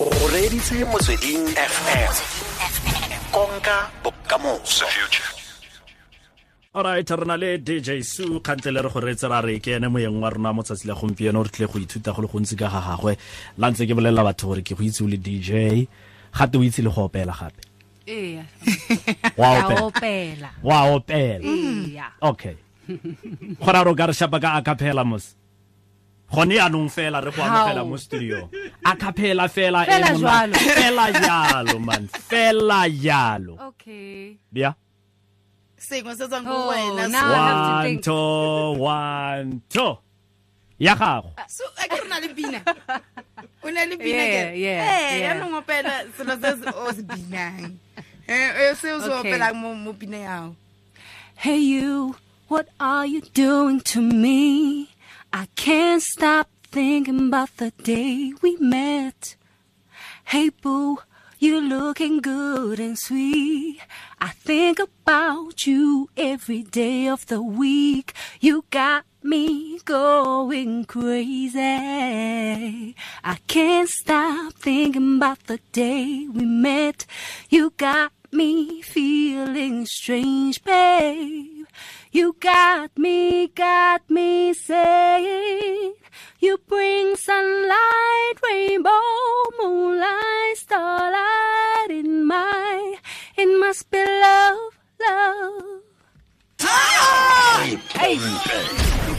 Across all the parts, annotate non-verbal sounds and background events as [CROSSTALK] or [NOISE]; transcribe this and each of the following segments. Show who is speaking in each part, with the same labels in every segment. Speaker 1: o reditse motsweding fm konka bokamoso
Speaker 2: alright re na le dj su kgantle le re go reetse ra re ke ene moeng wa rona mo tsatsi la gompieno re tlile go ithuta go le gontsi ka ga gagwe la ntse ke bolelela batho gore ke go itse o le dj gate o itse le go opela gape
Speaker 3: Ee, [LAUGHS]
Speaker 2: wa
Speaker 3: ka
Speaker 2: opela
Speaker 3: opela.
Speaker 2: wa opela
Speaker 3: Ee.
Speaker 2: okay gona re o ka re shapa ka acapella mos gone yaanong fela re go amogela
Speaker 3: How?
Speaker 2: mo studio acapella fela e
Speaker 3: Fela
Speaker 2: monate.
Speaker 3: jwalo.
Speaker 2: [LAUGHS] fela jalo man fela jalo
Speaker 3: Okay.
Speaker 2: bia
Speaker 4: sengwe se tswang
Speaker 3: Oh,
Speaker 4: ko wena
Speaker 3: now- I have to
Speaker 2: one
Speaker 3: think.
Speaker 2: two one two ya gago
Speaker 4: so a ke re na le pina o na le pina
Speaker 3: Yeah,
Speaker 4: ke
Speaker 3: É, yeah,
Speaker 4: ee
Speaker 3: yeah.
Speaker 4: yanong opela selo se se- o se binang Eh, eh, se o se
Speaker 3: Okay.
Speaker 4: opelang mo mo pina yago
Speaker 3: Hey you, what are you doing to me? I can't stop thinking about the day we met. Hey boo, you're looking good and sweet. I think about you every day of the week. You got me going crazy. I can't stop thinking about the day we met. You got me feeling strange, babe. You got me, got me saying, you bring sunlight, rainbow, moonlight, starlight in my, it must be love, love.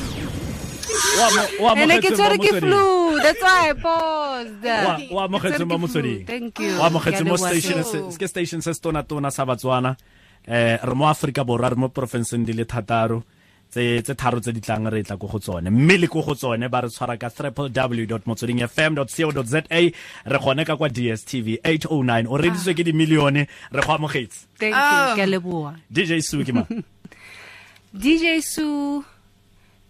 Speaker 2: Wa mo- wa
Speaker 3: And I
Speaker 2: amogetswe
Speaker 3: get
Speaker 2: mo
Speaker 3: to the
Speaker 2: motsweding.
Speaker 3: flu. That's why I paused.
Speaker 2: Wa- wa
Speaker 3: Ke
Speaker 2: amogetswe
Speaker 3: tshwere
Speaker 2: mo
Speaker 3: ke
Speaker 2: motsweding
Speaker 3: flu. Thank you.
Speaker 2: wa amogetswe
Speaker 3: Ke a
Speaker 2: mo
Speaker 3: leboha,
Speaker 2: station
Speaker 3: sir.
Speaker 2: se ke station se se tona tona sa batswana eh re mo Africa borwa re mo provinceng di le thataro tse tse tharo tse di tlang re tla go go tsone mme le go go tsone ba re tshwara ka www.motsodingfm.co.za re gone ka kwa DSTV 809 o reditswe ke di milione re go amogetse
Speaker 3: Thank
Speaker 4: Oh.
Speaker 3: you. Ke a leboha.
Speaker 2: DJ Suki
Speaker 3: [LAUGHS]
Speaker 2: ma
Speaker 3: DJ Su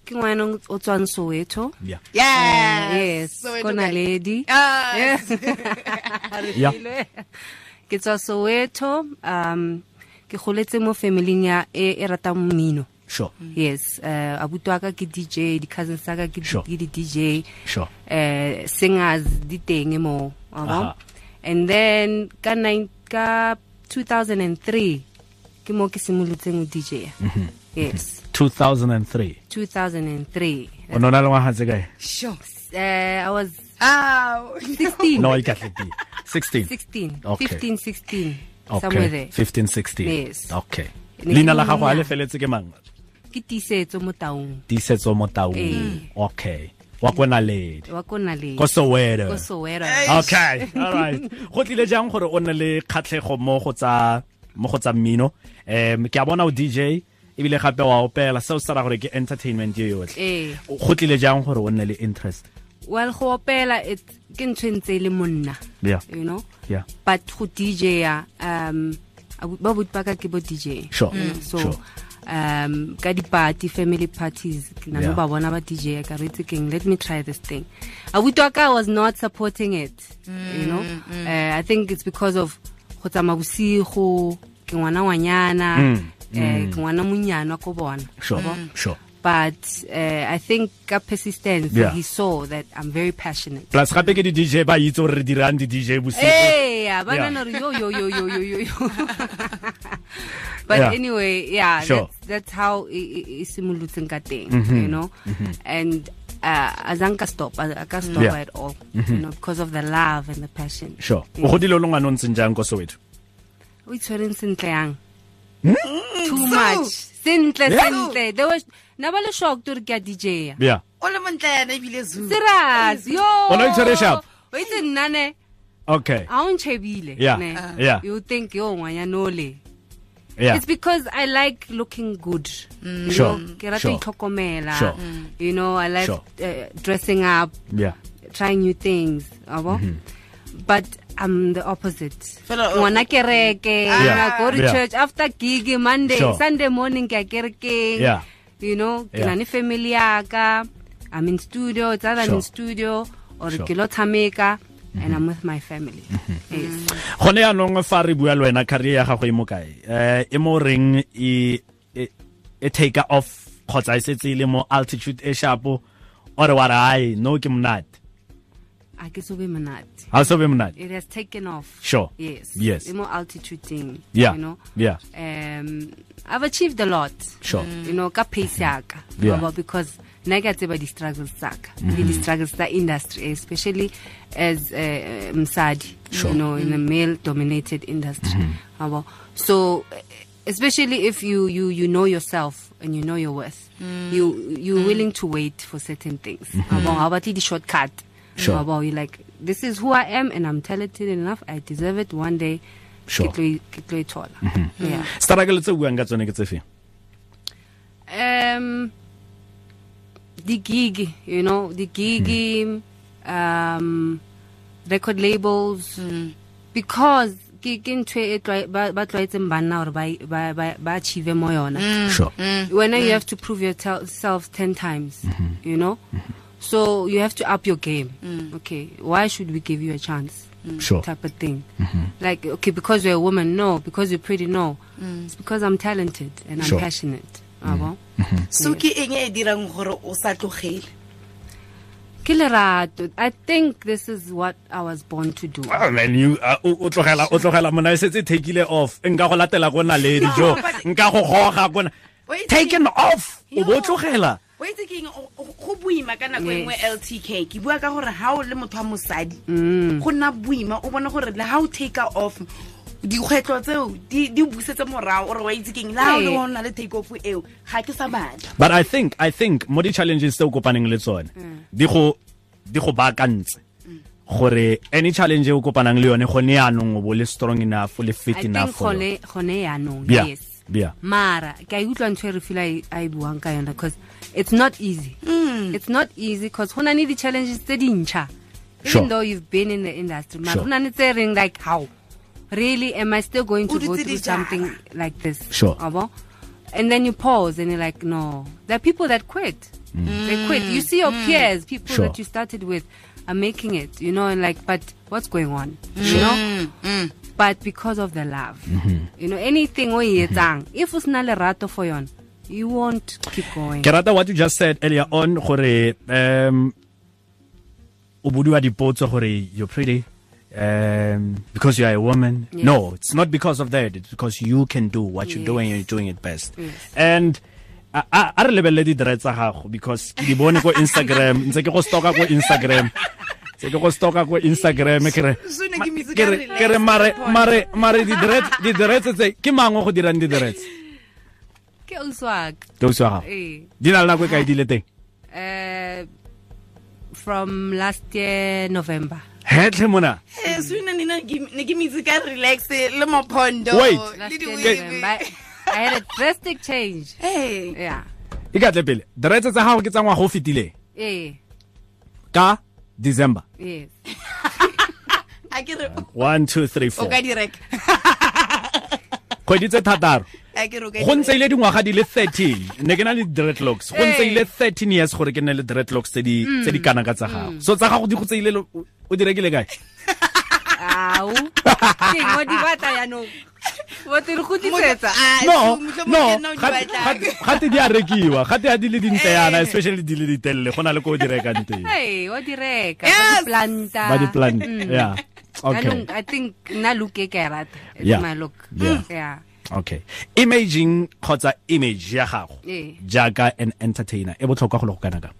Speaker 3: ke ngwana o tswang Soweto.
Speaker 2: yeah
Speaker 3: yes, kona lady.
Speaker 4: Ah,
Speaker 3: É. [LAUGHS] Re
Speaker 2: Yeah.
Speaker 3: filwe. Ke tswa Soweto. Um ke goletse mo family ya e e ratang mmino.
Speaker 2: sure
Speaker 3: Yes, uh abuti wa ka ke DJ, di cousins tsa ka ke
Speaker 2: Sure.
Speaker 3: di- ke di DJ.
Speaker 2: sure
Speaker 3: Eh singers di teng mo. wa
Speaker 2: Aha.
Speaker 3: bona? And then ka nine ka 2003 ke mo ke simolotseng ho DJ.
Speaker 2: Mm-hmm.
Speaker 3: Yes.
Speaker 2: 2003
Speaker 3: 2003.
Speaker 2: o nona le ngwaga tse
Speaker 3: [LAUGHS]
Speaker 2: kae
Speaker 3: Uh, I was
Speaker 4: [LAUGHS] ao
Speaker 3: 16.
Speaker 2: no e ka tlete 16
Speaker 3: 16.
Speaker 2: Okay.
Speaker 3: 15, 16. Somewhere
Speaker 2: okay
Speaker 3: there.
Speaker 2: 15 16
Speaker 3: Yes.
Speaker 2: okay
Speaker 3: Ne ke
Speaker 2: leina la gago a
Speaker 3: monnyane.
Speaker 2: le feletse ke mang
Speaker 3: Ke tisetso mo taung
Speaker 2: tisetso mo taung
Speaker 3: Ee.
Speaker 2: okay wa kona lady
Speaker 3: wa ko Naledi.
Speaker 2: ko soweto
Speaker 3: Ko Soweto.
Speaker 2: okay all right go tlile jang gore o nne le kgatlhego mo go tsa mo go tsa mmino um ke a bona o dj ebile gape wa opela seo se ra gore ke entertainment yo yotlhe
Speaker 3: Ee.
Speaker 2: go tlile jang gore o nne le interest
Speaker 3: Well go opela it ke ntho e ntse e le monna.
Speaker 2: yeah
Speaker 3: You know?
Speaker 2: yeah
Speaker 3: But go DJ ya um abu- ba bot baka ke bo DJ.
Speaker 2: sure
Speaker 3: You know, So
Speaker 2: sure
Speaker 3: um ka di-party family parties ke na le
Speaker 2: Yeah.
Speaker 3: ba bona ba dj ka re itse keng let me try this thing abuti wa ka was not supporting it you know uh, i think it's because of go tsamaya bosigo ke ngwana ngwanyana
Speaker 2: Mm,
Speaker 3: eh, ke ngwana monyana ko bona
Speaker 2: sure
Speaker 3: Mm.
Speaker 2: sure
Speaker 3: but uh, i think ka persistence
Speaker 2: Yeah.
Speaker 3: he saw that i'm very passionate
Speaker 2: plus gape ke di-dj ba itse gore re dirang di-dj bosigo
Speaker 3: Eya, ba
Speaker 2: Yeah.
Speaker 3: nahana hore yo, yo, yo, yo, yo, yo, [LAUGHS] yo. But
Speaker 2: Yeah.
Speaker 3: anyway, yeah,
Speaker 2: Sure. Mm-hmm.
Speaker 3: that's, that's how i- i- i- e simolotseng ka teng, you know. And uh, a zanka stop, a, a ka stop
Speaker 2: Yeah. Mm-hmm.
Speaker 3: at all, you know, because of the love and the passion.
Speaker 2: sure o godile o le ngwana o ntseng jang ko soweto
Speaker 3: O itshwereng sentle yang?
Speaker 2: Hmm?
Speaker 3: Too much. Sentle, sentle. There was, na ba le shocked hore ke a DJ ya.
Speaker 2: yeah
Speaker 4: o le montle yana ebile zoo
Speaker 3: Serious, yo.
Speaker 2: O ne o itshwere sharp?
Speaker 3: O itse nna ne,
Speaker 2: okay
Speaker 3: ha o ntjhebile,
Speaker 2: Yeah, Uh-huh.
Speaker 3: ne.
Speaker 2: yeah.
Speaker 3: You think yo ngwanyanole.
Speaker 2: yeah
Speaker 3: It's because I like looking good. You
Speaker 2: Sure,
Speaker 3: know, ke
Speaker 2: sure.
Speaker 3: rata ho itlhokomela.
Speaker 2: Sure.
Speaker 3: You know, I like
Speaker 2: Sure.
Speaker 3: uh, dressing up,
Speaker 2: yeah
Speaker 3: trying new things. abo?
Speaker 2: Mm-hmm.
Speaker 3: But I'm the opposite.
Speaker 4: Fela, uh,
Speaker 3: Ngwana kereke,
Speaker 2: Yeah,
Speaker 3: I go to
Speaker 2: yeah.
Speaker 3: church after gig Monday,
Speaker 2: Sure.
Speaker 3: Sunday morning ke a kerekeng.
Speaker 2: Yeah.
Speaker 3: You know, ke
Speaker 2: Yeah.
Speaker 3: na le family ya ka. I'm in studio, it's either I'm in
Speaker 2: Sure.
Speaker 3: studio or
Speaker 2: Sure. Mm-hmm.
Speaker 3: ke lo tshameka and I'm with my family. Yes.
Speaker 2: gone yaanong fa re bua le wena career ya gago e mo kae eh e mo reng e e- e take off kgotsa e setse e le mo altitude e sharpo ore wa re ai no ke monate
Speaker 3: a ke so be monate
Speaker 2: ha so be monate
Speaker 3: it has taken off
Speaker 2: Sure.
Speaker 3: yes
Speaker 2: Yes.
Speaker 3: e mo altitude thing
Speaker 2: yeah
Speaker 3: you know
Speaker 2: yeah
Speaker 3: um i've achieved a lot
Speaker 2: Sure.
Speaker 4: Mm.
Speaker 3: Mm. you know ka pace yaka
Speaker 2: Yeah. Mm-hmm.
Speaker 3: Ngoba because nna ke a tseba di-struggles tsaka le di-struggles tsa industry especially as uh, msadi you know in a male dominated industry
Speaker 2: Mm-hmm.
Speaker 3: Yabo. so eh, especially if you, you you know yourself and you know your worth you you're willing to wait for certain things Yabo, ha o batle di-shortcut
Speaker 2: Mm-hmm. Sure.
Speaker 3: Yabo, you're like this is who i am and i'm talented enough i deserve it one day
Speaker 2: Sure. Mm-hmm.
Speaker 3: ke tlo e- ke tlo e thola yeah
Speaker 2: struggle tse o buang ka tsone ke tsefeng
Speaker 3: um the gig you know the gig um record labels because ke ke ntho e tlwae- ba ba tlwaetseng banna gore ba- ba ba- ba achieve mo yona
Speaker 4: Mm.
Speaker 2: sure
Speaker 3: when you have to prove yourself 10 times
Speaker 2: Mm-hmm.
Speaker 3: you know so you have to up your game okay why should we give you a chance
Speaker 2: Sure. Mm-hmm.
Speaker 3: type of thing like okay because you're a woman no because you're pretty no it's because i'm talented and i'm
Speaker 2: Sure. Mm-hmm.
Speaker 3: passionate abo
Speaker 4: so ke eng e dirang gore um o sa tlogele
Speaker 3: ke lerato i think this is what i was born to do
Speaker 2: Well, man, you uh, o o tlogela o tlogela mona e setse takeile off nka go latela go na le
Speaker 4: [LAUGHS]
Speaker 2: dijo
Speaker 4: but-
Speaker 2: nka go goga kona
Speaker 4: Wait,
Speaker 2: taken off o bo
Speaker 4: Yo.
Speaker 2: tlogela
Speaker 4: o itse ke eng o- o- go boima ka nako e nngwe ltk ke bua ka gore ga o le motho wa mosadi
Speaker 2: Mm.
Speaker 4: go nna boima o bone gore le ga o take off dikgwetlho tseo di di o busetse morago ore wa itse keng le ga o le
Speaker 3: Ee.
Speaker 4: o nna le take off eo ga ke sa batla
Speaker 2: but i think i think mo di-challenges tse o kopaneng le tsone
Speaker 3: Mm.
Speaker 2: di go di go baakantse gore any challenge e o kopanang le yone gone yaanong o bo le strong enough o le fit
Speaker 3: i
Speaker 2: enough
Speaker 3: think
Speaker 2: for yone.
Speaker 3: gone gone yaanong
Speaker 2: Yeah,
Speaker 3: yes
Speaker 2: yeah.
Speaker 3: mara ke a utlwa ntho e re fila a e buang ka yona because it's not easy
Speaker 4: Mm.
Speaker 3: it's not easy because go na le di-challenges tse dintšha
Speaker 2: Sure.
Speaker 3: even though you've been in the industry mara
Speaker 2: Sure.
Speaker 3: go na le tse reng like how really am i still going to
Speaker 4: O
Speaker 3: go
Speaker 4: dutse
Speaker 3: through
Speaker 4: dijara.
Speaker 3: something like this
Speaker 2: Sure.
Speaker 3: Wa bo? and then you pause and you're like no there are people that quit they quit you see
Speaker 4: Mm.
Speaker 3: your peers people
Speaker 2: Mm. Sure.
Speaker 3: that you started with are making it you know and like but what's going on
Speaker 4: Mm.
Speaker 3: you know but because of the love
Speaker 2: Mm-hmm.
Speaker 3: you know anything o e etsang if o sena lerato for yona you won't keep going
Speaker 2: ke rata what you just said earlier on gore um o bodiwa dipotso gore you're pretty um because you are a woman
Speaker 3: Yes.
Speaker 2: no it's not because of that it's because you can do what you're
Speaker 3: Yes.
Speaker 2: doing and you're doing it best
Speaker 3: Yes.
Speaker 2: and a a- a re lebelele di-dre tsa gago because ke di bone ko
Speaker 3: [LAUGHS]
Speaker 2: instagram ntse ke go stoka ko instagram ntse ke go stoka ko instagram ke re
Speaker 4: So ne
Speaker 2: ma-
Speaker 4: ke metse
Speaker 2: ke
Speaker 4: ka
Speaker 2: re- ke re
Speaker 4: relax,
Speaker 2: mare
Speaker 4: Paul.
Speaker 2: mare mare di-dre- di-dress tse ke mangwe go dirang
Speaker 3: [LAUGHS]
Speaker 2: di-dress
Speaker 3: ke ausi wa ka,
Speaker 2: tausi wa gago
Speaker 3: eh,
Speaker 2: di na le nako e kae di le teng
Speaker 3: eh, from last year november
Speaker 2: hetlhe mona
Speaker 4: Eh, so ena nena ke- ne ke metse ka relax le mophondo
Speaker 2: Wait.
Speaker 4: le
Speaker 3: last year november
Speaker 4: diwebe
Speaker 3: I, I had a drastic change
Speaker 4: ee
Speaker 3: yeah
Speaker 2: e ka tle pele diretse tsa gago ke tsa ngwaga o fetileng
Speaker 3: eh,
Speaker 2: ka december
Speaker 3: yes
Speaker 4: a ke re o-
Speaker 2: one two three
Speaker 4: o
Speaker 2: four
Speaker 4: ka direka
Speaker 2: kgwedi tse thataro
Speaker 4: a ke re o ka
Speaker 2: go
Speaker 4: direka
Speaker 2: ntse ile dingwaga di le 13 ne ke na le dreadlocks go ntse
Speaker 3: Hey.
Speaker 2: ile 13 years gore ke nne le dreadlocks tse di tse di kana ka tsa gago so tsa gago di go tseile le- o o di rekile kae [LAUGHS]
Speaker 3: au ke ngo di batla yaanong bo tere go tlisetsa
Speaker 2: no no gate di a rekiwa gate a di le dintseyana especially di le ditelele go na le ko o di rekang teng
Speaker 3: Hey, wa di reka
Speaker 4: Yes.
Speaker 3: planta
Speaker 2: ba di plan yeah okay
Speaker 3: Yaanong, i think nna look e ka e rata it's
Speaker 2: Yeah.
Speaker 3: my look
Speaker 2: Yeah.
Speaker 3: yeah.
Speaker 2: okay imaging kgotsa image ya gago
Speaker 3: Ee.
Speaker 2: jaaka an entertainer e botlhokwa go le go kana kang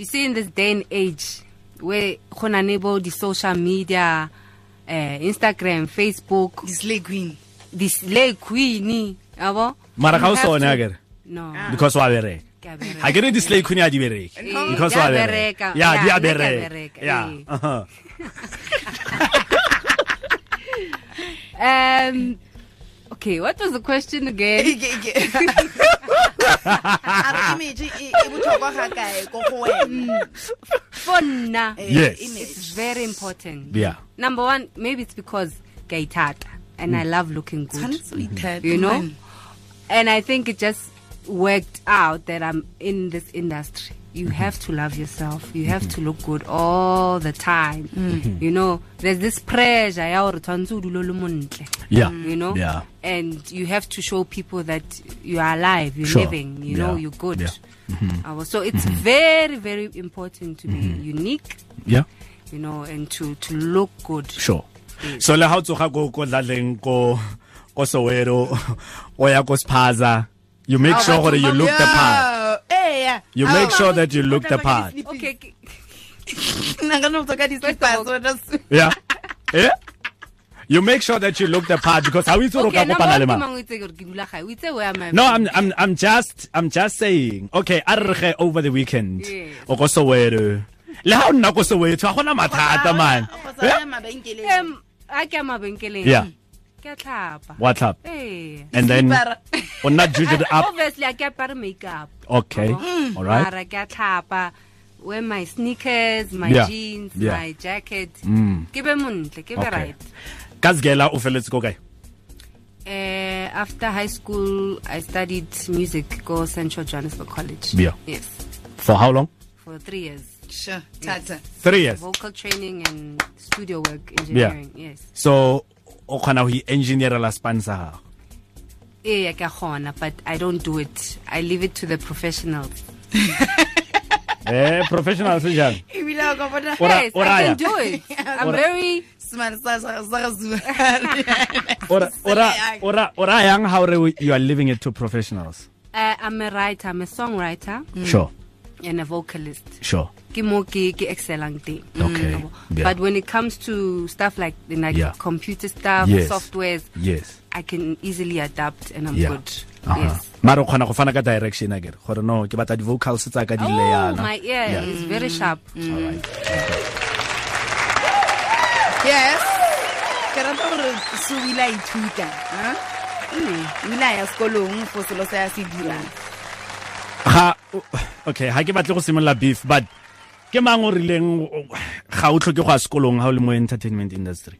Speaker 3: you see in this day and age where go na ne bo di-social media eh, instagram facebook
Speaker 4: dislay queen
Speaker 3: dislay queen abo
Speaker 2: Mara ga o
Speaker 3: You have
Speaker 2: sone,
Speaker 3: to-
Speaker 2: a kere?
Speaker 3: no
Speaker 2: because wa bereka
Speaker 3: ke a bereka.
Speaker 2: ga ke re dislay khune a di bereke
Speaker 3: Ee,
Speaker 2: because
Speaker 3: di a
Speaker 2: wa bereka
Speaker 3: bereka.
Speaker 2: ya di a
Speaker 3: Yeah, nna ke a
Speaker 2: bereka
Speaker 3: bereka,
Speaker 2: ya Uh-huh.
Speaker 3: ee.
Speaker 2: aha.
Speaker 3: um okay what was the question again
Speaker 4: [LAUGHS] image e e botlhokwa ga kae ko go wena
Speaker 3: for nna
Speaker 4: Eh,
Speaker 2: Mm. Yes.
Speaker 4: image.
Speaker 3: It's very important.
Speaker 2: Yeah.
Speaker 3: Number one, maybe it's because gaitata and
Speaker 2: Mm.
Speaker 3: I love looking good. Mm-hmm.
Speaker 4: Tshwanetse o ithate,
Speaker 3: You know?
Speaker 4: man.
Speaker 3: And I think it just worked out that I'm in this industry. you
Speaker 2: Mm-hmm.
Speaker 3: have to love yourself you have to look good all the time
Speaker 2: Mm-hmm.
Speaker 3: you know there's this pressure ya gore tshwanetse o dule o le montle Mm.
Speaker 2: Yeah.
Speaker 3: you know
Speaker 2: Yeah.
Speaker 3: and you have to show people that you are alive you're
Speaker 2: Sure.
Speaker 3: living you know
Speaker 2: Yeah.
Speaker 3: you're good
Speaker 2: Yeah. Mm-hmm.
Speaker 3: Uh, so it's very very important to be unique
Speaker 2: yeah
Speaker 3: you know and to to look good
Speaker 2: sure so le ha o tsoga ko ko dlaleng ko ko soweto [LAUGHS] o ya ko spaza you
Speaker 3: Oh,
Speaker 2: make sure gore you look the part
Speaker 4: Eya.
Speaker 2: You make sure that you look the part.
Speaker 3: okay ke- [LAUGHS]
Speaker 4: Nna ka no tsoka di slippers wena se-
Speaker 2: yeah eh you make sure that you look the part because how itse o
Speaker 3: okay
Speaker 2: ka
Speaker 3: number
Speaker 2: kopana le
Speaker 3: one, ke
Speaker 2: mang
Speaker 3: mang o itse gore ke dula gae o itse where am I
Speaker 2: No, I'm
Speaker 3: from?
Speaker 2: I'm I'm just I'm just saying. Okay, arre over the weekend.
Speaker 3: Yes.
Speaker 2: O go Soweto. Le ha o nna go Soweto, a gona mathata man. Eh?
Speaker 4: Go tsaya mabenkeleng.
Speaker 3: Em, ha ke ya mabenkeleng
Speaker 2: Yeah.
Speaker 3: ke a tlhapa
Speaker 2: What's up?
Speaker 3: Eh.
Speaker 2: And then
Speaker 4: Slipper.
Speaker 2: o not judged
Speaker 3: [LAUGHS]
Speaker 2: up.
Speaker 3: obviously ha ke apare makeup
Speaker 2: Okay.
Speaker 3: Mm.
Speaker 2: All right.
Speaker 3: mara ke a tlhapa wear my sneakers my
Speaker 2: Yeah.
Speaker 3: jeans
Speaker 2: Yeah. Mm.
Speaker 3: my jacket ke be montle ke be
Speaker 2: Okay.
Speaker 3: right
Speaker 2: Kazgela o feletse go kae?
Speaker 3: Uh, after high school, I studied music go Central Johannesburg College.
Speaker 2: Yeah.
Speaker 3: Yes,
Speaker 2: For how long?
Speaker 3: for three years.
Speaker 4: Sure, thata.
Speaker 2: 3 years.
Speaker 3: Vocal training and studio work engineering. Yes.
Speaker 2: So o khona ho engineer la sponsor ha.
Speaker 3: Eh, ke a kgona, but I don't do it. I leave it to the professionals.
Speaker 2: Eh professional se jang.
Speaker 4: Ebile ha o ka bona
Speaker 2: Ora-
Speaker 3: yes,
Speaker 2: ora
Speaker 3: I
Speaker 2: ya.
Speaker 3: can do it.
Speaker 2: [LAUGHS]
Speaker 3: I'm
Speaker 2: Ora-
Speaker 3: very
Speaker 4: semane sa- sa- sa ga Zulu.
Speaker 2: Ora ora
Speaker 4: Say, I-
Speaker 2: ora ora yang how you are leaving it to professionals.
Speaker 3: uh, I'm a writer, I'm a songwriter
Speaker 2: Sure.
Speaker 3: and a vocalist.
Speaker 2: Sure.
Speaker 3: Ke mo ke ke excellang teng.
Speaker 2: Okay,
Speaker 3: Mm.
Speaker 2: yeah.
Speaker 3: But when it comes to stuff like like
Speaker 2: Yeah.
Speaker 3: computer stuff,
Speaker 2: Yes.
Speaker 3: softwares,
Speaker 2: Yes.
Speaker 3: I can easily adapt and I'm good.
Speaker 2: Aha.
Speaker 3: Yes.
Speaker 2: Uh-huh. mara o kgona go fana ka direction a kere gore no ke batla di-vocals tsa ka di le
Speaker 3: Oh,
Speaker 2: yana
Speaker 3: my ear
Speaker 2: Yeah.
Speaker 3: is very sharp. Mm.
Speaker 2: Alright.
Speaker 4: Yes. Ke rata gore se o ile a ithuta. ha? Mm, O ile a ya sekolong for selo se a se dirang.
Speaker 2: ga okay ha ke batle go simolola beef but ke mang o rileng o- ga o tlhoke go ya sekolong ha o le mo entertainment industry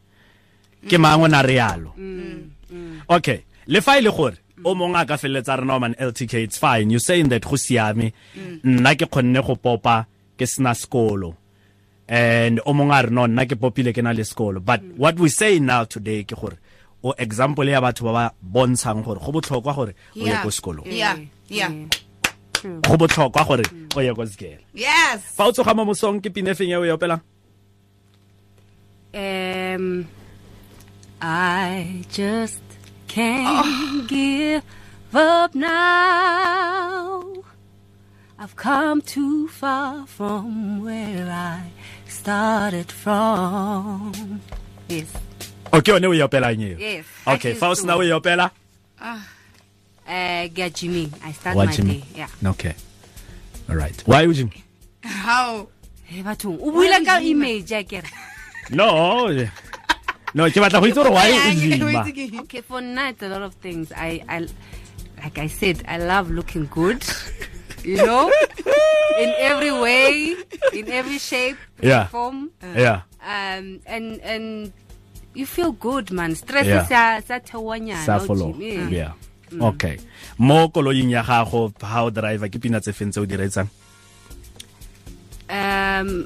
Speaker 2: ke mang o na realo okay le fa e le gore o mongwe a ka feleletsa re man ltk it's fine you saying that go siame nna ke kgonne go popa ke sena sekolo and o mongwe a re no nna ke popile ke na le sekolo but what we say now today ke gore o example ya batho ba ba bontshang gore go botlhokwa gore o ye
Speaker 4: Yeah.
Speaker 2: ko sekolong
Speaker 4: Yeah, yeah.
Speaker 2: go botlhokwa gore o ye ko sekela
Speaker 4: Yes.
Speaker 2: fa o tsoga mo mosong ke pinefeng e o e opelang
Speaker 3: Um, I just can't
Speaker 4: Oh. [LAUGHS]
Speaker 3: give up now. I've come too far from where I started from. Yes,
Speaker 2: o ke yone o e opelang eo
Speaker 3: Yes, I
Speaker 2: okay
Speaker 3: choose
Speaker 2: fa o
Speaker 3: to.
Speaker 2: sena o e opela
Speaker 3: uh, get Jimmy. I start
Speaker 2: Wa
Speaker 3: my
Speaker 2: Jimmy?
Speaker 3: day. Yeah.
Speaker 2: okay all right why o jim
Speaker 4: How?
Speaker 3: Hey, bathong, o buile ka image ya ke re.
Speaker 2: no no ke batla go itse gore why o jima
Speaker 3: Okay, for night, a lot of things. I, I, like I said, I love looking good. You know, in every way, in every shape,
Speaker 2: Yeah.
Speaker 3: form.
Speaker 2: yeah
Speaker 3: Um, and and you feel good, man. Stress
Speaker 2: Yeah.
Speaker 3: is a sa theonya,
Speaker 2: sa
Speaker 3: Ah, no,
Speaker 2: follow
Speaker 3: Jimmy. Mm.
Speaker 2: yeah okay mo koloing ya gago ha o driver ke pina tse feng tse o di reetsang
Speaker 3: Um,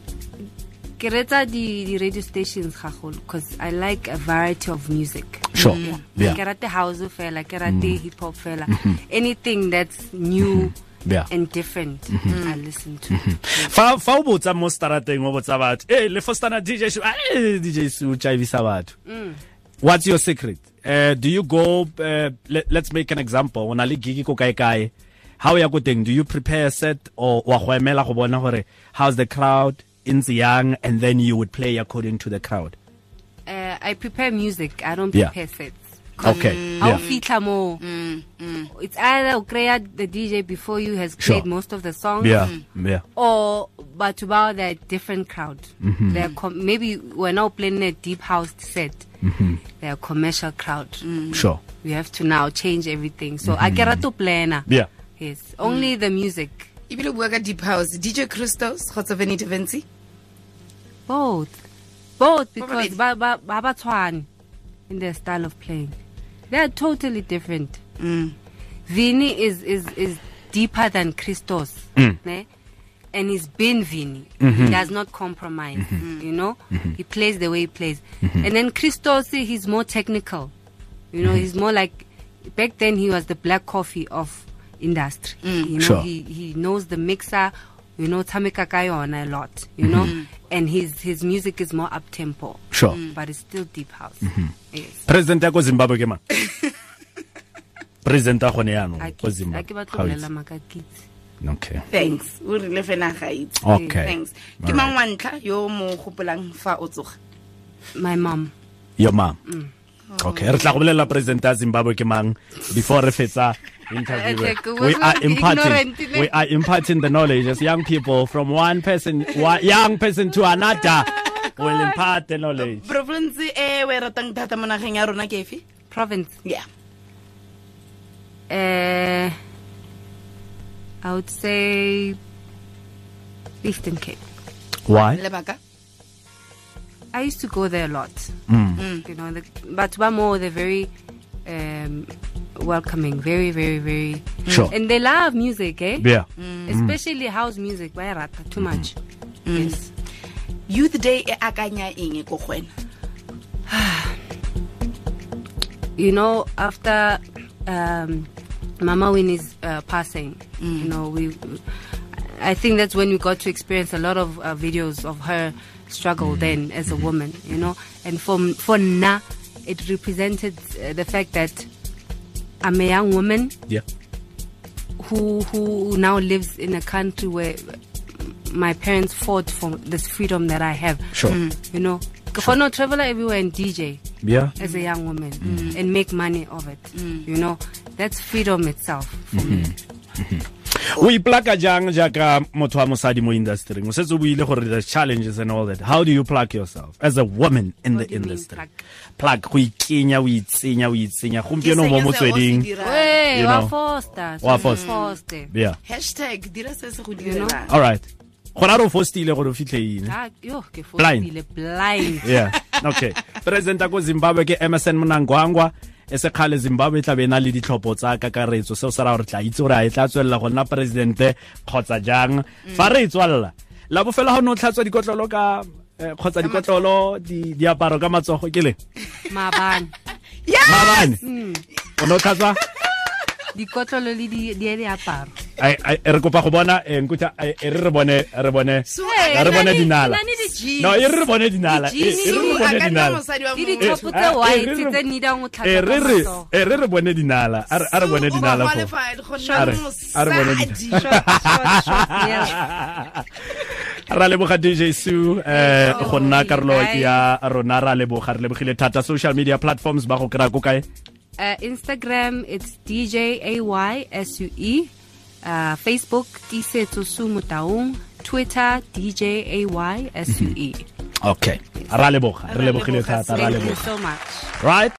Speaker 3: ke reetsa di di radio stations because I like a variety of music. Mm.
Speaker 2: sure yeah Mm. Mm-hmm.
Speaker 3: ke rate house fela ke rate hip hop fela anything that's new
Speaker 2: Yeah. Mm-hmm.
Speaker 3: and different i listen to
Speaker 2: fa fa o botsa mo starateng o botsa batho eh le fostana dj su eh dj su chaivisa batho
Speaker 3: Mm.
Speaker 2: what's your secret uh, do you go uh, let, let's make an example o na le gig ko kae kae how ya go teng do you prepare a set or wa go emela go bona gore how's the crowd ntse young and then you would play according to the crowd
Speaker 3: uh, i prepare music i don't
Speaker 2: Yeah.
Speaker 3: prepare sets
Speaker 2: okay
Speaker 3: Mm. How
Speaker 2: yeah
Speaker 3: fitlha mo it's either o kry-a the dj before you has
Speaker 2: Sure.
Speaker 3: played most of the songs
Speaker 2: yeah yeah
Speaker 3: or batho bao they're a different crowd they're com- maybe we're now playing a deep house set they're a commercial crowd
Speaker 2: sure
Speaker 3: we have to now change everything so i get to planner
Speaker 2: Yeah.
Speaker 3: yes only the music
Speaker 4: Ebile o bua ka deep house. DJ Christos kgotsa Vanity Vancy.
Speaker 3: Both. Both because ba
Speaker 4: Probably.
Speaker 3: ba ba ba tshwane in their style of playing. They are totally different. Mm. Vini is is is deeper than Christos. Ne? and he's been Vinny. He does not compromise. mm, You know, he plays the way he plays. And then Christos, he's more technical. You know, he's more like back then he was the black coffee of industry. You know,
Speaker 2: Sure.
Speaker 3: he he knows the mixer. You know, Tamika Kayona a lot. You know, and his his music is more up tempo.
Speaker 2: Sure. Mm.
Speaker 3: but it's still deep house. Yes.
Speaker 2: president ya ko zimbabwe ke
Speaker 3: [LAUGHS]
Speaker 2: mang president a gone yaanong
Speaker 3: I
Speaker 2: ko
Speaker 3: ke- I ke
Speaker 2: zimbabwe
Speaker 3: batla
Speaker 2: Ga
Speaker 3: ho
Speaker 2: o itse.
Speaker 3: bolela maka kitse.
Speaker 2: okay
Speaker 4: thanks o rile fela ga itse
Speaker 2: Okay.
Speaker 4: thanks
Speaker 2: All
Speaker 4: ke
Speaker 2: right.
Speaker 4: mang wa ntlha yo o mo gopolang fa o tsoga
Speaker 3: My mom.
Speaker 2: yo mam okay re tla go bolelela president ya zimbabwe ke mang before re fetsa interview
Speaker 3: Okay, good.
Speaker 2: we are
Speaker 3: Ignorant,
Speaker 2: imparting
Speaker 3: like-
Speaker 2: we are imparting the knowledge as young people from one person one young person to another will impart the knowledge
Speaker 4: province e o e ratang thata mo nageng ya rona ke efe
Speaker 3: Province.
Speaker 4: yeah
Speaker 3: Uh, I would say Eastern Cape.
Speaker 2: why
Speaker 4: lebaka
Speaker 3: I used to go there a lot.
Speaker 2: Mm.
Speaker 3: Mm. You know, the, but more they're very um, welcoming, very, very, very. mm.
Speaker 2: Sure.
Speaker 3: And they love music, eh?
Speaker 2: yeah Mm. Mm-hmm.
Speaker 3: Especially house music. Why rata too much? Yes.
Speaker 4: youth day e akanya eng ko go wena
Speaker 3: you know, after um, Mama Winnie's uh, passing, you know, we, I think that's when we got to experience a lot of uh, videos of her struggle then as a woman, you know, and for for Na, it represented uh, the fact that I'm a young woman
Speaker 2: yeah
Speaker 3: who who now lives in a country where my parents fought for this freedom that I have. Mm.
Speaker 2: Sure.
Speaker 3: You know, for no traveler everywhere and DJ
Speaker 2: yeah
Speaker 3: as a young woman
Speaker 2: Mm.
Speaker 3: and make money of it. You know, that's freedom itself for me.
Speaker 2: o iplaka jang jaaka motho wa mosadi mo industry o setse o buile gore the challenges and all that how do you plug yourself as a woman in the
Speaker 3: What do you mean,
Speaker 2: industry plug go ikenya o itsenya o itsenya gompieno mo
Speaker 4: Ke seng se o se
Speaker 2: motsweding
Speaker 4: dirang.
Speaker 3: Hey,
Speaker 2: You
Speaker 3: wa
Speaker 2: know,
Speaker 3: foster,
Speaker 2: wa
Speaker 3: so
Speaker 2: foster.
Speaker 3: foster.
Speaker 2: yeah
Speaker 4: hashtag dira se se go
Speaker 3: know?
Speaker 4: direlang
Speaker 2: all right gona re o fostile gore o fitlheine
Speaker 3: Ah, yo, ke
Speaker 2: Blind.
Speaker 3: fostile, blind.
Speaker 2: [LAUGHS] yeah
Speaker 4: [LAUGHS]
Speaker 2: okay presidenta ko zimbabwe ke emerson monangwangwa e se kgale zimbabwe e tla be e na le ditlhopho tsa kakaretso seo se raya gore tla itse gore a e tla tswelela go nna presidente kgotsa jang
Speaker 4: Mm.
Speaker 2: fa re e tswalela la bofelo ga o ne o tlhatswa dikotlolo ka eh, kgotsa dikotlolo di- diaparo ka matsogo ke leng
Speaker 3: Mabane.
Speaker 2: maabane
Speaker 4: Mm.
Speaker 2: o ne o tlhatswa
Speaker 3: Dikotlolo le di di di aparo.
Speaker 2: Ai, ai, re kopa go bona eh, Nkuta, ai, e re re bone re bone
Speaker 3: Hey,
Speaker 2: re bone
Speaker 3: nani-
Speaker 2: dinala
Speaker 3: nani di-jeans?
Speaker 2: no e re re bone dinala e e re re
Speaker 4: a
Speaker 2: bone
Speaker 4: ka nna
Speaker 2: dinala
Speaker 4: mosadi wa
Speaker 3: Ke
Speaker 4: mongwe.
Speaker 2: Eh,
Speaker 3: di-top tse
Speaker 2: ah, eh,
Speaker 3: white
Speaker 2: re re-
Speaker 3: tse needang go tlhatswa
Speaker 2: e re
Speaker 3: ka
Speaker 2: re
Speaker 3: matsoho.
Speaker 2: e re re bone dinala a re a re Eh, bone
Speaker 4: So, o
Speaker 2: dinala
Speaker 4: ba
Speaker 2: fo [LAUGHS]
Speaker 4: qualified go nna
Speaker 2: A re- a re bone
Speaker 4: mosadi.
Speaker 2: dinala. ra leboga dj su eh
Speaker 3: Oh,
Speaker 2: go nna karolo
Speaker 3: bye.
Speaker 2: ya rona ra leboga re lebogile thata social media platforms ba go kry-a ko kae
Speaker 3: Uh, Instagram, it's DJ AYSUE. Uh, Facebook, Tisetso Sumutaung. Twitter, DJ AYSUE.
Speaker 2: [LAUGHS] okay ra leboga re lebogile
Speaker 4: leboga,
Speaker 2: thata ra
Speaker 3: E. Thank you
Speaker 2: leboga
Speaker 3: so much.
Speaker 2: right